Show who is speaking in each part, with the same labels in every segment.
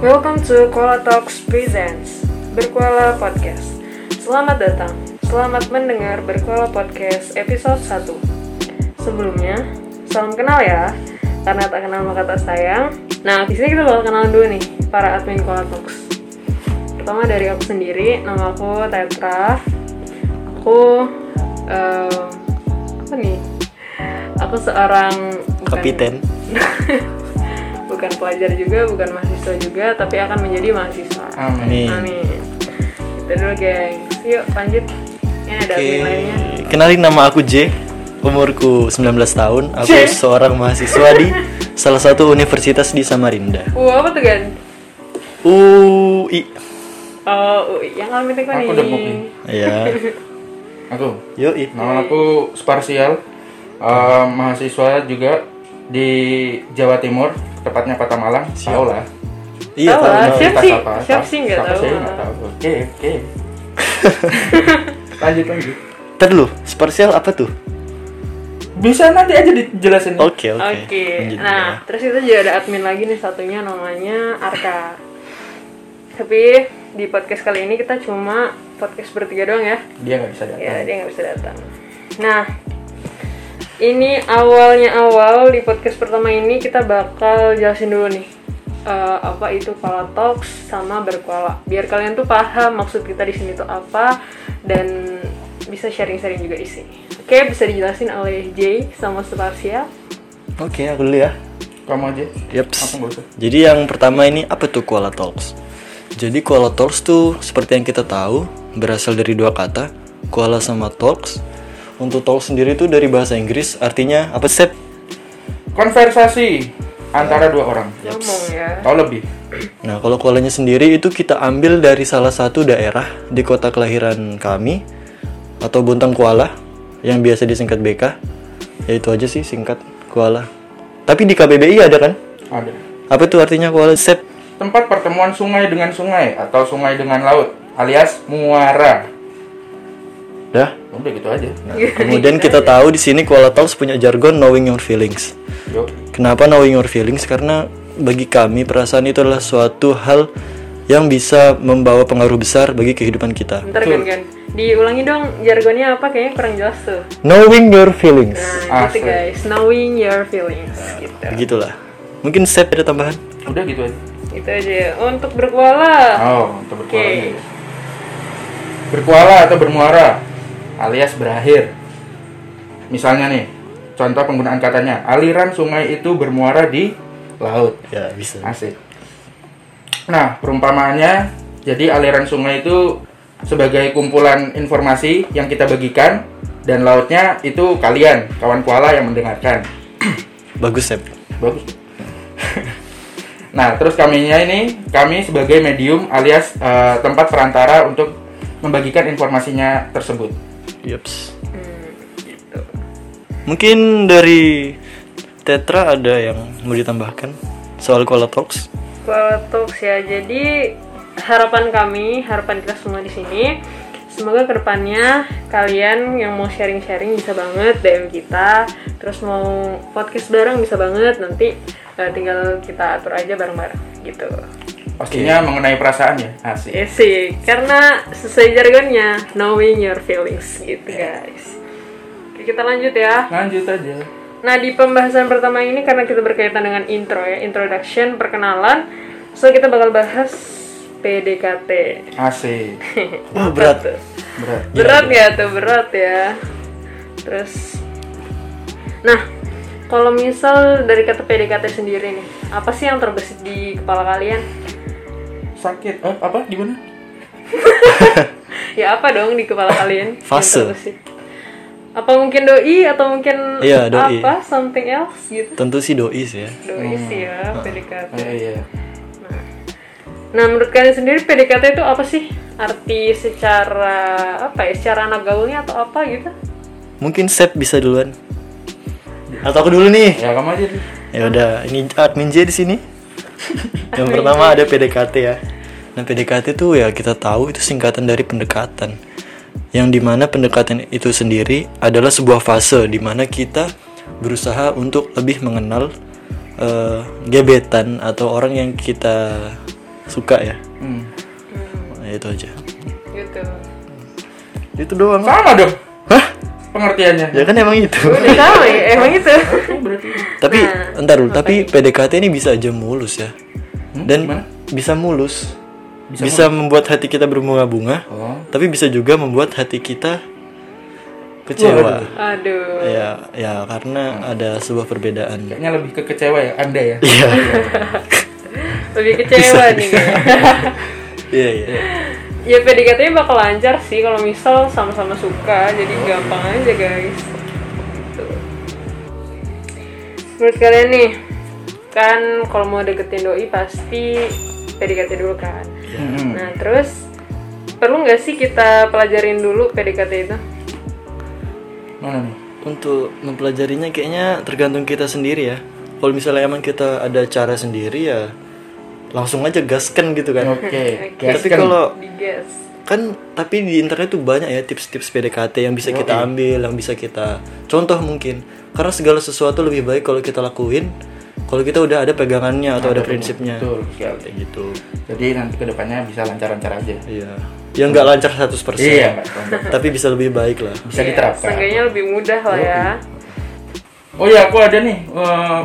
Speaker 1: Welcome to Koala Talks Presents Berkoala Podcast Selamat datang, selamat mendengar Berkoala Podcast episode 1 Sebelumnya, salam kenal ya Karena tak kenal maka tak sayang Nah, di sini kita bakal kenalan dulu nih Para admin Koala Talks Pertama dari aku sendiri, nama aku Tetra Aku, eh, apa nih? Aku seorang bukan-
Speaker 2: Kapiten.
Speaker 1: bukan pelajar juga, bukan mahasiswa juga, tapi akan menjadi mahasiswa.
Speaker 2: Amin.
Speaker 1: Amin. Itu dulu, geng. Yuk, lanjut. Ini ada
Speaker 2: Oke.
Speaker 1: admin lainnya.
Speaker 2: Kenalin nama aku J. Umurku 19 tahun. Aku
Speaker 1: J.
Speaker 2: seorang mahasiswa di salah satu universitas di Samarinda.
Speaker 1: Uh, apa tuh, Gan?
Speaker 2: UI.
Speaker 1: Oh, UI. yang kami tekan
Speaker 3: Aku
Speaker 1: nih.
Speaker 3: udah booking.
Speaker 2: Ya.
Speaker 3: Aku,
Speaker 2: Yoi.
Speaker 3: nama aku Sparsial, eh, mahasiswa juga di Jawa Timur, tepatnya Kota Malang. Tahu lah.
Speaker 2: Iya,
Speaker 1: Tahu
Speaker 2: tahu.
Speaker 1: lah.
Speaker 2: tahu.
Speaker 1: Ah, Siap
Speaker 3: Kita
Speaker 1: sih,
Speaker 3: apa,
Speaker 1: siap
Speaker 3: apa-
Speaker 1: sih nggak
Speaker 3: apa
Speaker 1: tahu.
Speaker 3: sih nggak tahu. Oke, oke. Lanjut lanjut.
Speaker 2: Ntar dulu, sparsial apa tuh?
Speaker 3: Bisa nanti aja dijelasin.
Speaker 2: Ya, Oke, oke.
Speaker 1: Oke.
Speaker 2: Lanjut
Speaker 1: Nah,
Speaker 2: ya.
Speaker 1: terus itu juga ada admin lagi nih satunya namanya Arka. Tapi di podcast kali ini kita cuma podcast bertiga doang ya.
Speaker 3: Dia nggak bisa datang.
Speaker 1: ya dia nggak bisa datang nah ini awalnya awal di podcast pertama ini kita bakal jelasin dulu nih eh, apa itu koala talks sama berkoala biar kalian tuh paham maksud kita di sini tuh apa dan bisa sharing-sharing juga isi oke bisa dijelasin oleh Jay sama Separsia
Speaker 2: Oke, aku dulu ya.
Speaker 3: Kamu aja.
Speaker 1: Iya.
Speaker 2: Yaps.
Speaker 3: Aku nggak usah.
Speaker 2: Jadi yang pertama ini apa tuh Koala Talks? Jadi Koala Talks tuh seperti yang kita tahu berasal dari dua kata, koala sama talks. Untuk talks sendiri tuh dari bahasa Inggris artinya apa sih?
Speaker 3: Konversasi
Speaker 1: Iya.
Speaker 3: antara dua orang.
Speaker 1: ngomong ya
Speaker 3: Tahu lebih.
Speaker 2: Nah, kalau koalanya sendiri itu kita ambil dari salah satu daerah di kota kelahiran kami atau Bontang Kuala yang biasa disingkat BK. Ya itu aja sih singkat Kuala. Tapi di KBBI ada kan?
Speaker 3: Ada.
Speaker 2: Apa itu artinya Kuala Sep?
Speaker 3: Tempat pertemuan sungai dengan sungai atau sungai dengan laut, alias muara.
Speaker 2: Dah.
Speaker 3: Udah gitu aja.
Speaker 1: Iya.
Speaker 2: Kemudian kita tahu di sini Kuala Talks punya jargon knowing your feelings.
Speaker 3: Yuk.
Speaker 2: Kenapa knowing your feelings? Karena bagi kami perasaan itu adalah suatu hal yang bisa membawa pengaruh besar bagi kehidupan kita.
Speaker 1: ntar gan gan diulangi dong jargonnya apa kayaknya kurang jelas tuh
Speaker 2: Knowing your feelings.
Speaker 1: nah gitu
Speaker 3: Asik.
Speaker 1: guys knowing your feelings
Speaker 2: Ya.
Speaker 1: gitu
Speaker 2: Begitulah. Mungkin Sep ada tambahan?
Speaker 3: Udah gitu aja.
Speaker 1: itu aja untuk berkoala
Speaker 3: Oh, untuk berkuala
Speaker 1: Oke.
Speaker 3: aja. Berkuala atau bermuara alias berakhir. Misalnya nih, contoh penggunaan katanya, aliran sungai itu bermuara di laut.
Speaker 2: Ya, bisa.
Speaker 3: Asik. Nah, perumpamaannya jadi aliran sungai itu sebagai kumpulan informasi yang kita bagikan dan lautnya itu kalian, kawan kuala yang mendengarkan.
Speaker 2: Bagus, Sep.
Speaker 3: Bagus. nah, terus kaminya ini kami sebagai medium alias eh, tempat perantara untuk membagikan informasinya tersebut.
Speaker 2: Yaps. Mungkin dari Tetra ada yang mau ditambahkan soal Kuala Talks?
Speaker 1: Well, Talks ya. Jadi harapan kami, harapan kita semua di sini, semoga kedepannya kalian yang mau sharing-sharing bisa banget DM kita. Terus mau podcast bareng bisa banget. Nanti eh, tinggal kita atur aja bareng-bareng gitu.
Speaker 3: Pastinya mengenai perasaan ya. Asik.
Speaker 1: Ya sih, karena sesuai jargonnya, knowing your feelings gitu guys. Oke, kita lanjut ya.
Speaker 3: Lanjut aja.
Speaker 1: Nah, di pembahasan pertama ini karena kita berkaitan dengan intro ya, introduction, perkenalan. So, kita bakal bahas PDKT.
Speaker 3: Asik.
Speaker 2: Wah, berat. Iya.
Speaker 3: Berat. Iya,
Speaker 1: Berat ya tuh, berat ya. Terus Nah, kalau misal dari kata PDKT sendiri nih, apa sih yang terbesit di kepala kalian?
Speaker 3: Sakit. Eh, apa gimana?
Speaker 1: Ya apa dong di kepala kalian? yang
Speaker 2: Fase.
Speaker 1: terbesit? Apa mungkin doi atau mungkin
Speaker 2: Iya, doi.
Speaker 1: apa something else gitu?
Speaker 2: Tentu sih doi sih ya.
Speaker 1: Doi sih ya PDKT.
Speaker 3: Eh, iya.
Speaker 1: Nah, menurut kalian sendiri PDKT itu apa sih? Arti secara apa ya? Secara anak gaulnya atau apa gitu?
Speaker 2: Mungkin Sep bisa duluan. Atau aku dulu nih.
Speaker 3: Ya kamu aja deh.
Speaker 2: Ya udah, ini admin J di sini. Yang pertama ada PDKT ya. Nah, PDKT itu ya kita tahu itu singkatan dari pendekatan. Yang dimana pendekatan itu sendiri adalah sebuah fase dimana kita berusaha untuk lebih mengenal eh, gebetan atau orang yang kita suka ya
Speaker 3: Hmm.
Speaker 2: Nah, itu aja
Speaker 1: gitu
Speaker 2: itu doang
Speaker 3: Sama dong
Speaker 2: hah
Speaker 3: pengertiannya.
Speaker 2: ya kan emang itu
Speaker 1: udah tahu ya emang itu
Speaker 3: Oh, berarti.
Speaker 2: tapi entar dulu tapi PDKT ini bisa aja mulus ya
Speaker 3: Hmm,
Speaker 2: dan
Speaker 3: gimana?
Speaker 2: bisa mulus bisa, membuat hati kita berbunga-bunga
Speaker 3: Oh.
Speaker 2: tapi bisa juga membuat hati kita kecewa
Speaker 1: aduh
Speaker 2: ya ya karena
Speaker 3: Hmm.
Speaker 2: ada sebuah perbedaan
Speaker 3: Kayaknya lebih ke kecewa ya Anda ya.
Speaker 2: iya
Speaker 1: lebih kecewa nih kayaknya.
Speaker 2: iya iya
Speaker 1: ya PDKT bakal lancar sih kalau misal sama-sama suka jadi gampang aja guys Tuh. menurut kalian nih kan kalau mau deketin doi pasti PDKT dulu kan
Speaker 3: Hmm.
Speaker 1: nah terus perlu nggak sih kita pelajarin dulu PDKT itu
Speaker 3: Mana nih?
Speaker 2: untuk mempelajarinya kayaknya tergantung kita sendiri ya kalau misalnya emang kita ada cara sendiri ya langsung aja gaskan gitu kan
Speaker 3: Oke.
Speaker 2: tapi
Speaker 3: gaskan.
Speaker 2: kalau
Speaker 1: digas
Speaker 2: kan tapi di internet tuh banyak ya tips-tips PDKT yang bisa kita ambil, yang bisa kita contoh mungkin. Karena segala sesuatu lebih baik kalau kita lakuin, kalau kita udah ada pegangannya atau ada prinsipnya.
Speaker 3: betul sekali.
Speaker 2: Kayak gitu.
Speaker 3: Jadi nanti kedepannya bisa lancar-lancar aja.
Speaker 2: Iya. Yang nggak lancar 100%.
Speaker 3: Iya, Mbak.
Speaker 2: Tapi bisa lebih baik lah.
Speaker 3: bisa
Speaker 1: Ya,
Speaker 3: diterapkan.
Speaker 1: seenggaknya lebih mudah lah ya
Speaker 3: Oh iya, aku ada nih. eh,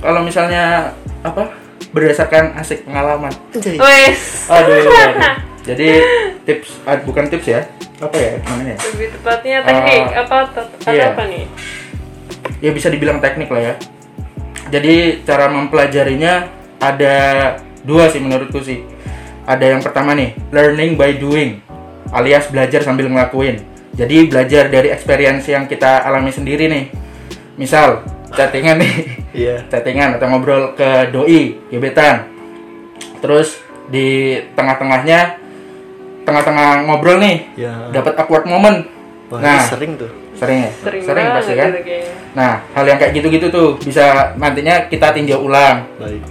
Speaker 3: kalau misalnya apa? Berdasarkan asik pengalaman.
Speaker 1: wes
Speaker 3: Aduh. aduh. Jadi tips ah, bukan tips ya. Apa ya namanya? ya?
Speaker 1: lebih tepatnya teknik
Speaker 3: Ah,
Speaker 1: apa tet- ada
Speaker 3: iya.
Speaker 1: apa nih
Speaker 3: Ya bisa dibilang teknik lah ya. Jadi cara mempelajarinya ada dua sih menurutku sih. Ada yang pertama nih, learning by doing alias belajar sambil ngelakuin. Jadi belajar dari experience yang kita alami sendiri nih. Misal chattingan nih.
Speaker 2: Iya.
Speaker 3: chattingan atau ngobrol ke doi gebetan terus di tengah-tengahnya tengah-tengah ngobrol nih
Speaker 2: Ya.
Speaker 3: dapat awkward moment
Speaker 2: Wah,
Speaker 3: nah
Speaker 2: ini sering tuh.
Speaker 3: sering ya
Speaker 1: sering,
Speaker 3: pasti
Speaker 1: banget
Speaker 3: kan
Speaker 1: gitu kayaknya
Speaker 3: nah hal yang kayak gitu-gitu tuh bisa nantinya kita tinjau ulang
Speaker 2: Baik.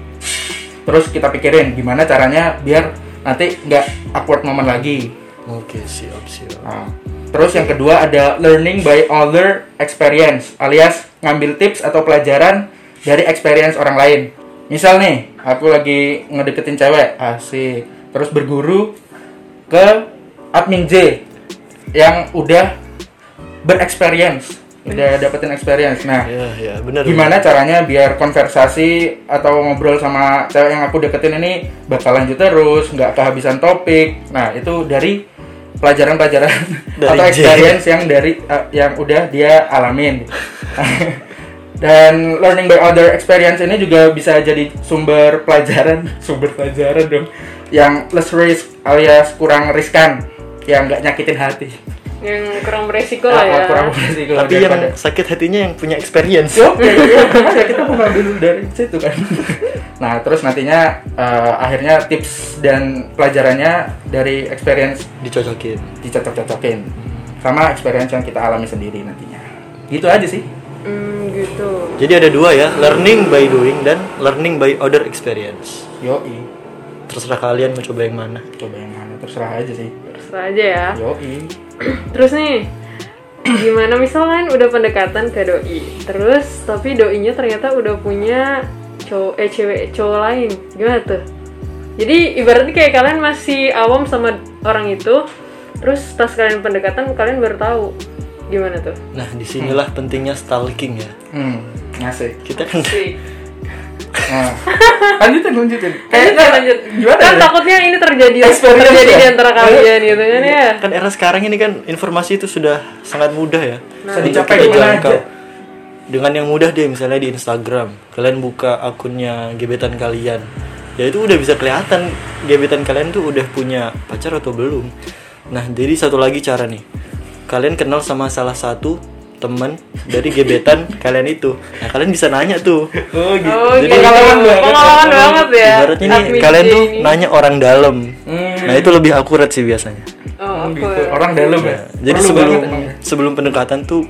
Speaker 3: terus kita pikirin gimana caranya biar nanti nggak awkward moment lagi
Speaker 2: Oke, siap, siap.
Speaker 3: Nah, terus yang kedua ada learning by other experience, alias ngambil tips atau pelajaran dari experience orang lain. Misal nih, aku lagi ngedeketin cewek, asik. Terus berguru ke admin J yang udah berexperience, udah dapetin experience. Nah,
Speaker 2: Ya, ya, benar.
Speaker 3: gimana caranya biar konversasi atau ngobrol sama cewek yang aku deketin ini bakal lanjut terus nggak kehabisan topik nah itu dari pelajaran-pelajaran
Speaker 2: Dari
Speaker 3: atau
Speaker 2: J.
Speaker 3: experience yang dari eh, yang udah dia alamin dan learning by other experience ini juga bisa jadi sumber pelajaran sumber pelajaran dong yang less risk alias kurang riskan yang nggak nyakitin hati
Speaker 1: yang kurang beresiko lah ya
Speaker 3: Ah, kurang beresiko
Speaker 2: Tapi yang
Speaker 3: daripada-
Speaker 2: sakit hatinya yang punya experience.
Speaker 3: Oke, ya kita mengambil dari situ kan. Nah, terus nantinya eh, akhirnya tips dan pelajarannya dari experience
Speaker 2: Dicocokin.
Speaker 3: dicocok-cocokin sama experience yang kita alami sendiri nantinya. Gitu aja sih.
Speaker 1: hmm, gitu
Speaker 2: Jadi ada dua ya, learning by doing dan learning by other experience.
Speaker 3: Yoi,
Speaker 2: Terserah kalian mau coba yang mana.
Speaker 3: coba yang mana terserah aja sih.
Speaker 1: terserah aja ya
Speaker 3: Ah. Yoi.
Speaker 1: terus nih gimana misalkan udah pendekatan ke doi terus tapi doinya ternyata udah punya cowok eh cewek cowok lain gimana tuh jadi ibaratnya kayak kalian masih awam sama orang itu terus pas kalian pendekatan kalian baru tahu gimana tuh
Speaker 2: Nah, disinilah pentingnya stalking ya.
Speaker 3: Hmm, ngasih.
Speaker 2: Kita kan
Speaker 1: sih
Speaker 3: Nah, lanjutin lanjutin.
Speaker 1: lanjut lanjut
Speaker 3: Gimana?
Speaker 1: kan
Speaker 3: ya?
Speaker 1: Eh, takutnya ini terjadi
Speaker 3: Experience
Speaker 1: terjadi
Speaker 3: ya?
Speaker 1: di antara kalian gitu kan ya
Speaker 2: kan era sekarang ini kan informasi itu sudah sangat mudah ya.
Speaker 3: Bisa
Speaker 2: Untuk
Speaker 3: Nah, dicapai
Speaker 2: kita
Speaker 3: di mana
Speaker 2: jangkau.
Speaker 3: aja.
Speaker 2: Dengan yang mudah deh misalnya di Instagram, kalian buka akunnya gebetan kalian. Ya itu udah bisa kelihatan gebetan kalian tuh udah punya pacar atau belum. Nah, jadi satu lagi cara nih. Kalian kenal sama salah satu teman dari gebetan kalian itu. Nah, kalian bisa nanya tuh.
Speaker 3: Oh, gitu.
Speaker 1: oh
Speaker 2: Jadi-
Speaker 1: gitu
Speaker 3: Pengalaman banget.
Speaker 1: pengalaman banget
Speaker 3: Iya,
Speaker 1: ya
Speaker 2: Ibaratnya nih
Speaker 1: Admin
Speaker 2: kalian
Speaker 1: J
Speaker 2: tuh
Speaker 1: ini.
Speaker 2: nanya orang dalam.
Speaker 3: Hmm.
Speaker 2: Nah, itu lebih akurat sih biasanya. Nah,
Speaker 1: oh,
Speaker 3: Hmm,
Speaker 1: aku
Speaker 3: gitu. Orang dalam ya.
Speaker 2: Jadi
Speaker 3: Perlu
Speaker 2: sebelum
Speaker 3: banget emang. ya.
Speaker 2: sebelum pendekatan tuh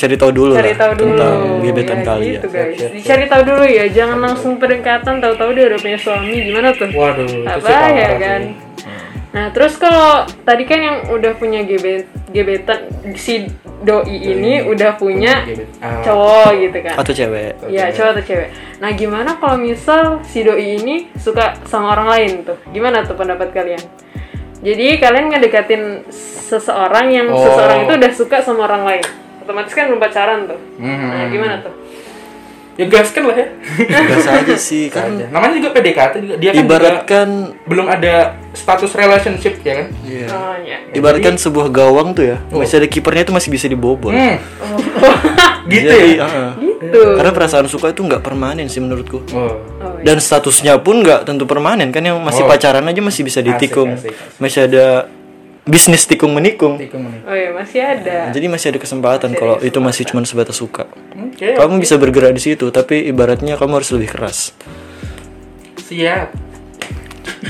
Speaker 2: cari tahu dulu
Speaker 1: cari
Speaker 2: lah
Speaker 1: tahu dulu
Speaker 2: tentang gebetan
Speaker 3: Iya,
Speaker 1: Ya,
Speaker 2: kalian.
Speaker 1: gitu, guys. dicari tahu dulu ya jangan langsung pendekatan tahu-tahu dia udah punya suami gimana tuh
Speaker 3: Waduh, itu sih
Speaker 1: apa ya
Speaker 3: parah
Speaker 1: kan
Speaker 3: sih.
Speaker 1: nah terus kalau tadi kan yang udah punya gebet- gebetan si doi ini udah punya
Speaker 3: Gebet. Ah.
Speaker 1: cowok gitu kan
Speaker 2: atau cewek
Speaker 1: Iya, cowok atau cewek. Nah, gimana kalau misal si doi ini suka sama orang lain tuh? Gimana tuh pendapat kalian? Jadi kalian ngedekatin seseorang yang
Speaker 3: Oh.
Speaker 1: seseorang itu udah suka sama orang lain. Otomatis kan belum pacaran tuh.
Speaker 2: Mm-hmm.
Speaker 3: Hmm.
Speaker 1: Nah, gimana tuh?
Speaker 3: Ya gas kan lah ya.
Speaker 2: Gas aja sih kan
Speaker 3: Aja. Namanya juga PDKT juga. Dia kan Iya, juga
Speaker 2: ibaratkan
Speaker 3: belum ada status relationship ya kan.
Speaker 2: Iya.
Speaker 1: Oh, ya.
Speaker 2: ibaratkan sebuah gawang tuh ya masih ada kipernya itu masih bisa dibobol
Speaker 3: Oh. Hmm. gitu
Speaker 2: Jadi,
Speaker 3: ya.
Speaker 2: uh-uh.
Speaker 1: Gitu.
Speaker 2: karena perasaan suka itu nggak permanen sih menurutku
Speaker 3: Oh.
Speaker 1: Oh, iya.
Speaker 2: dan statusnya pun nggak tentu permanen kan yang masih
Speaker 3: Oh.
Speaker 2: pacaran aja masih bisa ditikung
Speaker 3: asik, asik.
Speaker 2: masih ada bisnis tikung menikung
Speaker 3: Tikung nih.
Speaker 1: Oh, iya, masih ada.
Speaker 2: Nah, jadi masih ada kesempatan kalau itu masih cuma sebatas suka
Speaker 3: Oke.
Speaker 2: kamu bisa bergerak di situ tapi ibaratnya kamu harus lebih keras
Speaker 3: Siap.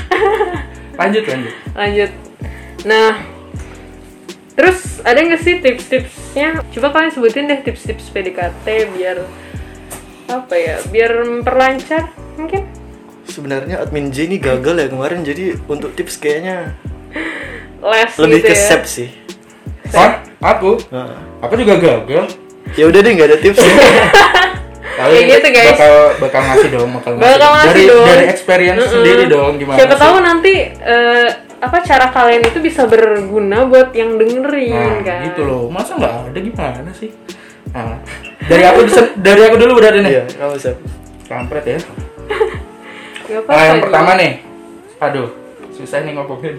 Speaker 3: lanjut lanjut.
Speaker 1: Lanjut. Nah, terus ada nggak sih tips-tipsnya? Coba kalian sebutin deh tips-tips PDKT biar apa ya? Biar memperlancar mungkin.
Speaker 2: sebenarnya admin J ini gagal ya kemarin jadi untuk tips kayaknya
Speaker 1: les
Speaker 2: lebih
Speaker 1: gitu
Speaker 2: ke
Speaker 1: ya.
Speaker 2: sep sih
Speaker 3: Hah? Aku? Aku juga gagal.
Speaker 2: ya udah deh nggak ada tips
Speaker 3: Tapi
Speaker 1: Kayak gitu, guys.
Speaker 3: bakal bakal ngasih dong, bakal ngasih.
Speaker 1: Bakal ngasih
Speaker 3: dari
Speaker 1: dong.
Speaker 3: dari experience
Speaker 1: Mm-mm.
Speaker 3: sendiri dong gimana.
Speaker 1: Siapa
Speaker 3: sih? Nah,
Speaker 1: tahu nanti eh, apa cara kalian itu bisa berguna buat yang dengerin
Speaker 3: Nah,
Speaker 1: kan.
Speaker 3: gitu loh. Masa nggak ada gimana sih? Nah, dari aku disen- dari aku dulu udah ada nih.
Speaker 2: Iya, kamu sep
Speaker 3: Kampret ya.
Speaker 1: Nggak apa-apa
Speaker 3: Nah, yang
Speaker 1: juga.
Speaker 3: pertama nih. Aduh, susah nih ngomongin.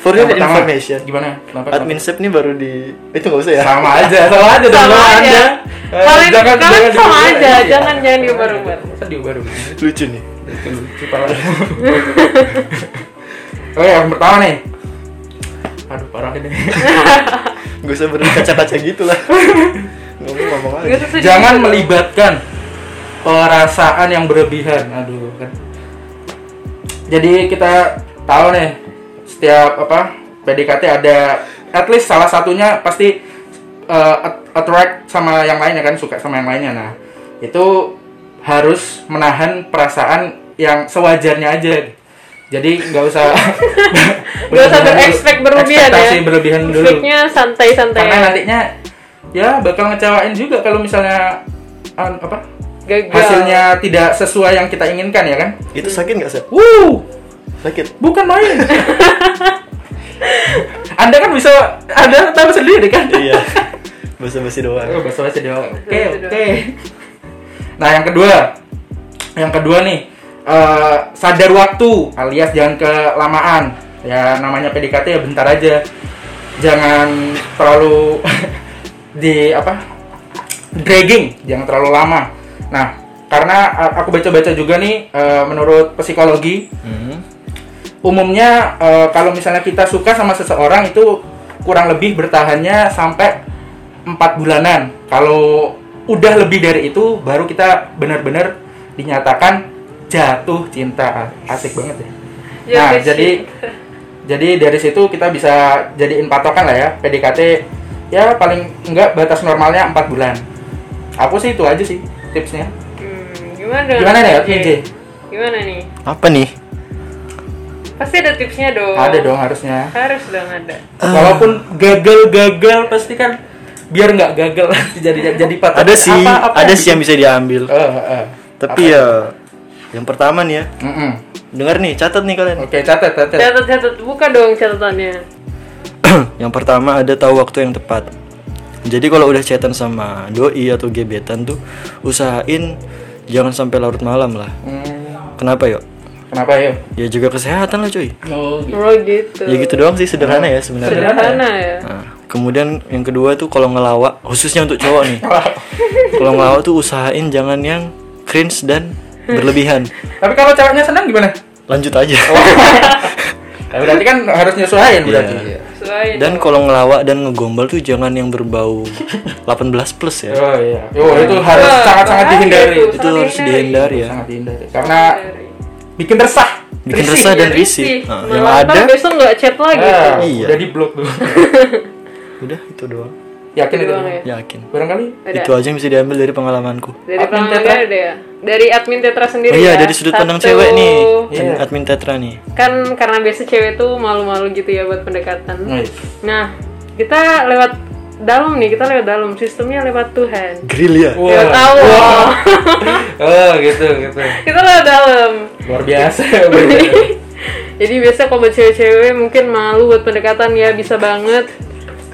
Speaker 2: for
Speaker 3: Yang
Speaker 2: your information
Speaker 3: Gimana? Kenapa?
Speaker 2: admin sep ini baru di itu nggak usah ya
Speaker 3: Kenapa? sama aja, sama aja dong,
Speaker 1: Sama
Speaker 3: sama
Speaker 1: aja.
Speaker 3: aja. Eh,
Speaker 1: Kalian- kalian
Speaker 3: jangan
Speaker 1: sama
Speaker 3: diubah,
Speaker 1: aja,
Speaker 3: iya.
Speaker 1: jangan- jangan diubah-ubah.
Speaker 3: Masa diubah-ubah?
Speaker 2: lucu nih
Speaker 3: Lucu parah. Oke, Oh, yang pertama nih. Aduh, parah ini.
Speaker 2: Gak usah berkaca-kaca gitu lah Ngomong ngomong
Speaker 1: Nggak
Speaker 2: aja
Speaker 1: usah sedih.
Speaker 3: Jangan melibatkan perasaan yang berlebihan. Aduh, kan. Jadi kita tahu nih setiap apa PDKT ada at least salah satunya pasti eh, at- attract sama yang lainnya kan suka sama yang lainnya. Nah, itu harus menahan perasaan yang sewajarnya aja. Jadi nggak usah
Speaker 1: Nggak usah berespek berlebihan ya.
Speaker 3: Ekspektasi berlebihan dulu
Speaker 1: Aspeknya santai-santai.
Speaker 3: karena nantinya ya bakal ngecewain juga kalau misalnya an- apa
Speaker 1: Gagal.
Speaker 3: hasilnya tidak sesuai yang kita inginkan ya kan
Speaker 2: Itu sakit gak Sep?
Speaker 3: Wuh,
Speaker 2: Sakit
Speaker 3: bukan main anda kan bisa anda tahu sendiri kan
Speaker 2: Iya Basa-basi
Speaker 3: Oh,
Speaker 2: doang
Speaker 3: basa-basi doang. Oke,
Speaker 1: Basa-basi
Speaker 3: oke.
Speaker 1: doang.
Speaker 3: Nah, yang kedua. Yang kedua nih, eh, sadar waktu alias jangan kelamaan. Ya namanya PDKT ya bentar aja. Jangan terlalu di apa? dragging, jangan terlalu lama. Nah, karena eh, aku baca-baca juga nih eh, menurut psikologi umumnya eh, kalau misalnya kita suka sama seseorang itu kurang lebih bertahannya sampai empat bulanan. Kalau udah lebih dari itu baru kita benar-benar dinyatakan jatuh cinta. Asik banget ya. Nah,
Speaker 1: Jatuh
Speaker 3: jadi jadi dari situ kita bisa jadiin patokan lah ya PDKT ya paling enggak batas normalnya empat bulan. Aku sih itu aja sih tipsnya.
Speaker 1: Hmm, gimana? dengan
Speaker 3: Gimana nih,
Speaker 1: J?
Speaker 3: J?
Speaker 1: Gimana nih?
Speaker 2: Apa nih?
Speaker 1: Pasti ada tipsnya dong.
Speaker 3: Ada dong harusnya.
Speaker 1: Harus dong ada.
Speaker 2: Ah.
Speaker 3: Walaupun gagal-gagal pasti kan biar nggak gagal jadi jadi patah. ya?
Speaker 2: Ada sih Ada sih yang bisa diambil
Speaker 3: Eh,
Speaker 2: Tapi ya Yang pertama nih ya Dengar nih, catat nih kalian
Speaker 3: Oke, catat catat.
Speaker 1: Catat-catat buka dong catatannya.
Speaker 2: Yang pertama ada tahu waktu yang tepat Jadi kalau udah chatan sama doi atau gebetan tuh Usahain Jangan sampai larut malam lah
Speaker 3: Hmm,
Speaker 2: Kenapa yuk?
Speaker 3: Kenapa yuk?
Speaker 2: Ya juga kesehatan lah cuy
Speaker 3: Oh,
Speaker 1: Oh gitu.
Speaker 2: Ya gitu doang sih sederhana ya sebenarnya
Speaker 1: Sederhana ya.
Speaker 2: Nah, kemudian yang kedua tuh kalau ngelawak khususnya untuk cowok nih kalau ngelawak tuh usahain jangan yang cringe dan berlebihan
Speaker 3: Tapi kalau ceweknya senang gimana?
Speaker 2: lanjut aja
Speaker 3: Eh, berarti kan harus
Speaker 2: Iya,
Speaker 3: nyesuaiin berarti.
Speaker 1: Sesuai
Speaker 2: dan kalau ngelawak dan ngegombal tuh jangan yang berbau 18 plus ya
Speaker 3: Oh iya. Oh, itu harus
Speaker 1: Wah,
Speaker 3: sangat-sangat
Speaker 1: bahaya
Speaker 3: dihindari.
Speaker 1: tuh.
Speaker 2: itu harus dihindari ya
Speaker 3: Sangat dihindari. Karena bikin resah.
Speaker 2: bikin
Speaker 3: Risih.
Speaker 2: resah
Speaker 1: Jadi
Speaker 2: dan
Speaker 1: Iya sih,
Speaker 2: risih Nah, yang
Speaker 1: malah ntar
Speaker 2: ada Ah,
Speaker 1: besok nggak chat lagi
Speaker 3: Ah,
Speaker 2: Iya.
Speaker 3: Udah di blok tuh.
Speaker 2: udah itu doang
Speaker 3: Yakin itu?
Speaker 1: doang ya?
Speaker 2: Yakin.
Speaker 3: Barangkali
Speaker 1: Beda.
Speaker 2: Itu aja yang bisa diambil dari pengalamanku.
Speaker 1: Dari
Speaker 3: Admin
Speaker 1: pengalaman
Speaker 3: Tetra.
Speaker 1: ada ya? Dari admin Tetra sendiri
Speaker 2: Oh iya,
Speaker 1: ya?
Speaker 2: dari sudut pandang
Speaker 1: Satu-
Speaker 2: cewek nih.
Speaker 3: Iya.
Speaker 2: Admin Tetra nih.
Speaker 1: Kan karena biasa cewek tuh malu-malu gitu ya buat pendekatan
Speaker 2: iya.
Speaker 3: Nice.
Speaker 1: Nah, kita lewat dalam nih, kita lewat dalam Sistemnya lewat Tuhan
Speaker 2: Grill ya.
Speaker 3: Wah.
Speaker 1: Ya tahu loh.
Speaker 3: Oh gitu gitu.
Speaker 1: Kita lewat dalam
Speaker 3: Luar biasa.
Speaker 1: Jadi biasa kalau buat cewek-cewek mungkin malu buat pendekatan ya bisa banget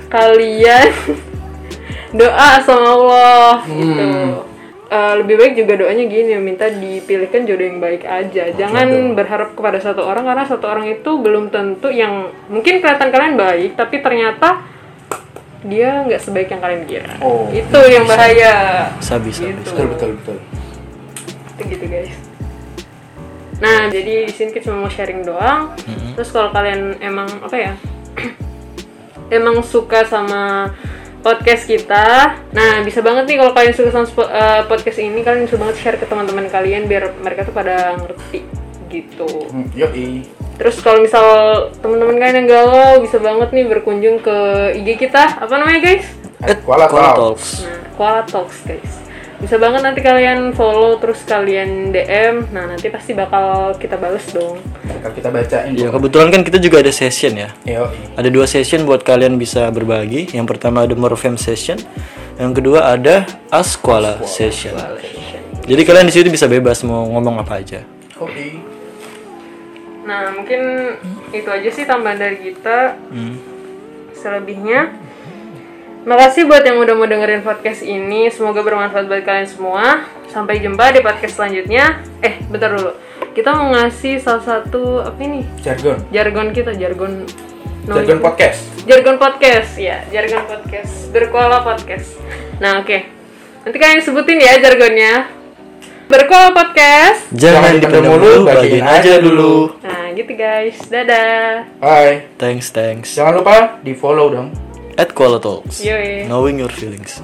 Speaker 1: kalian doa sama Allah gitu.
Speaker 3: Hmm.
Speaker 1: Eh, lebih baik juga doanya gini minta dipilihkan jodoh yang baik aja. Jangan berharap kepada satu orang karena satu orang itu belum tentu yang mungkin kelihatan kalian baik tapi ternyata dia nggak sebaik yang kalian kira.
Speaker 3: Oh,
Speaker 1: itu yang bahaya.
Speaker 2: Sabi sabi.
Speaker 1: Gitu.
Speaker 3: betul betul betul.
Speaker 1: Itu gitu guys nah jadi di sini kita cuma mau sharing doang terus kalau kalian emang apa ya emang suka sama podcast kita nah bisa banget nih kalau kalian suka sama spo- eh, podcast ini kalian bisa banget share ke teman-teman kalian biar mereka tuh pada ngerti gitu
Speaker 3: Hmm, Yoi.
Speaker 1: terus kalau misal teman-teman kalian yang galau bisa banget nih berkunjung ke IG kita apa namanya guys
Speaker 3: eh, Kuala
Speaker 2: Eh, Kuala
Speaker 3: Talk.
Speaker 2: Talks.
Speaker 1: Nah, Kuala Talks guys. Bisa banget nanti kalian follow terus kalian DM. Nah, nanti pasti bakal kita bales dong.
Speaker 3: Ntar kita bacain.
Speaker 2: Ya kebetulan kan kita juga ada session ya.
Speaker 3: Yoi.
Speaker 2: Ada dua session buat kalian bisa berbagi. Yang pertama ada Morfem session, yang kedua ada Askuala session. Jadi kalian di situ bisa bebas mau ngomong apa aja.
Speaker 3: Oke.
Speaker 1: Nah, mungkin itu aja sih tambahan dari kita. Selebihnya Makasih buat yang udah mau dengerin podcast ini. Semoga bermanfaat buat kalian semua. Sampai jumpa di podcast selanjutnya. Eh, bentar dulu. Kita mau ngasih salah satu apa ini?
Speaker 3: Jargon.
Speaker 1: Jargon kita, jargon no
Speaker 3: Jargon podcast.
Speaker 1: Jargon Podcast, ya, Jargon Podcast, Berkuala Podcast. Nah, oke. Nanti kalian sebutin ya jargonnya. Berkuala Podcast.
Speaker 2: Jangan dipendam dulu, bagiin aja dulu.
Speaker 1: Nah, gitu guys. Dadah.
Speaker 3: Hai.
Speaker 2: Thanks, thanks.
Speaker 3: Jangan lupa di follow dong.
Speaker 2: At Kuala Talks.
Speaker 1: Yoi.
Speaker 2: Knowing your feelings.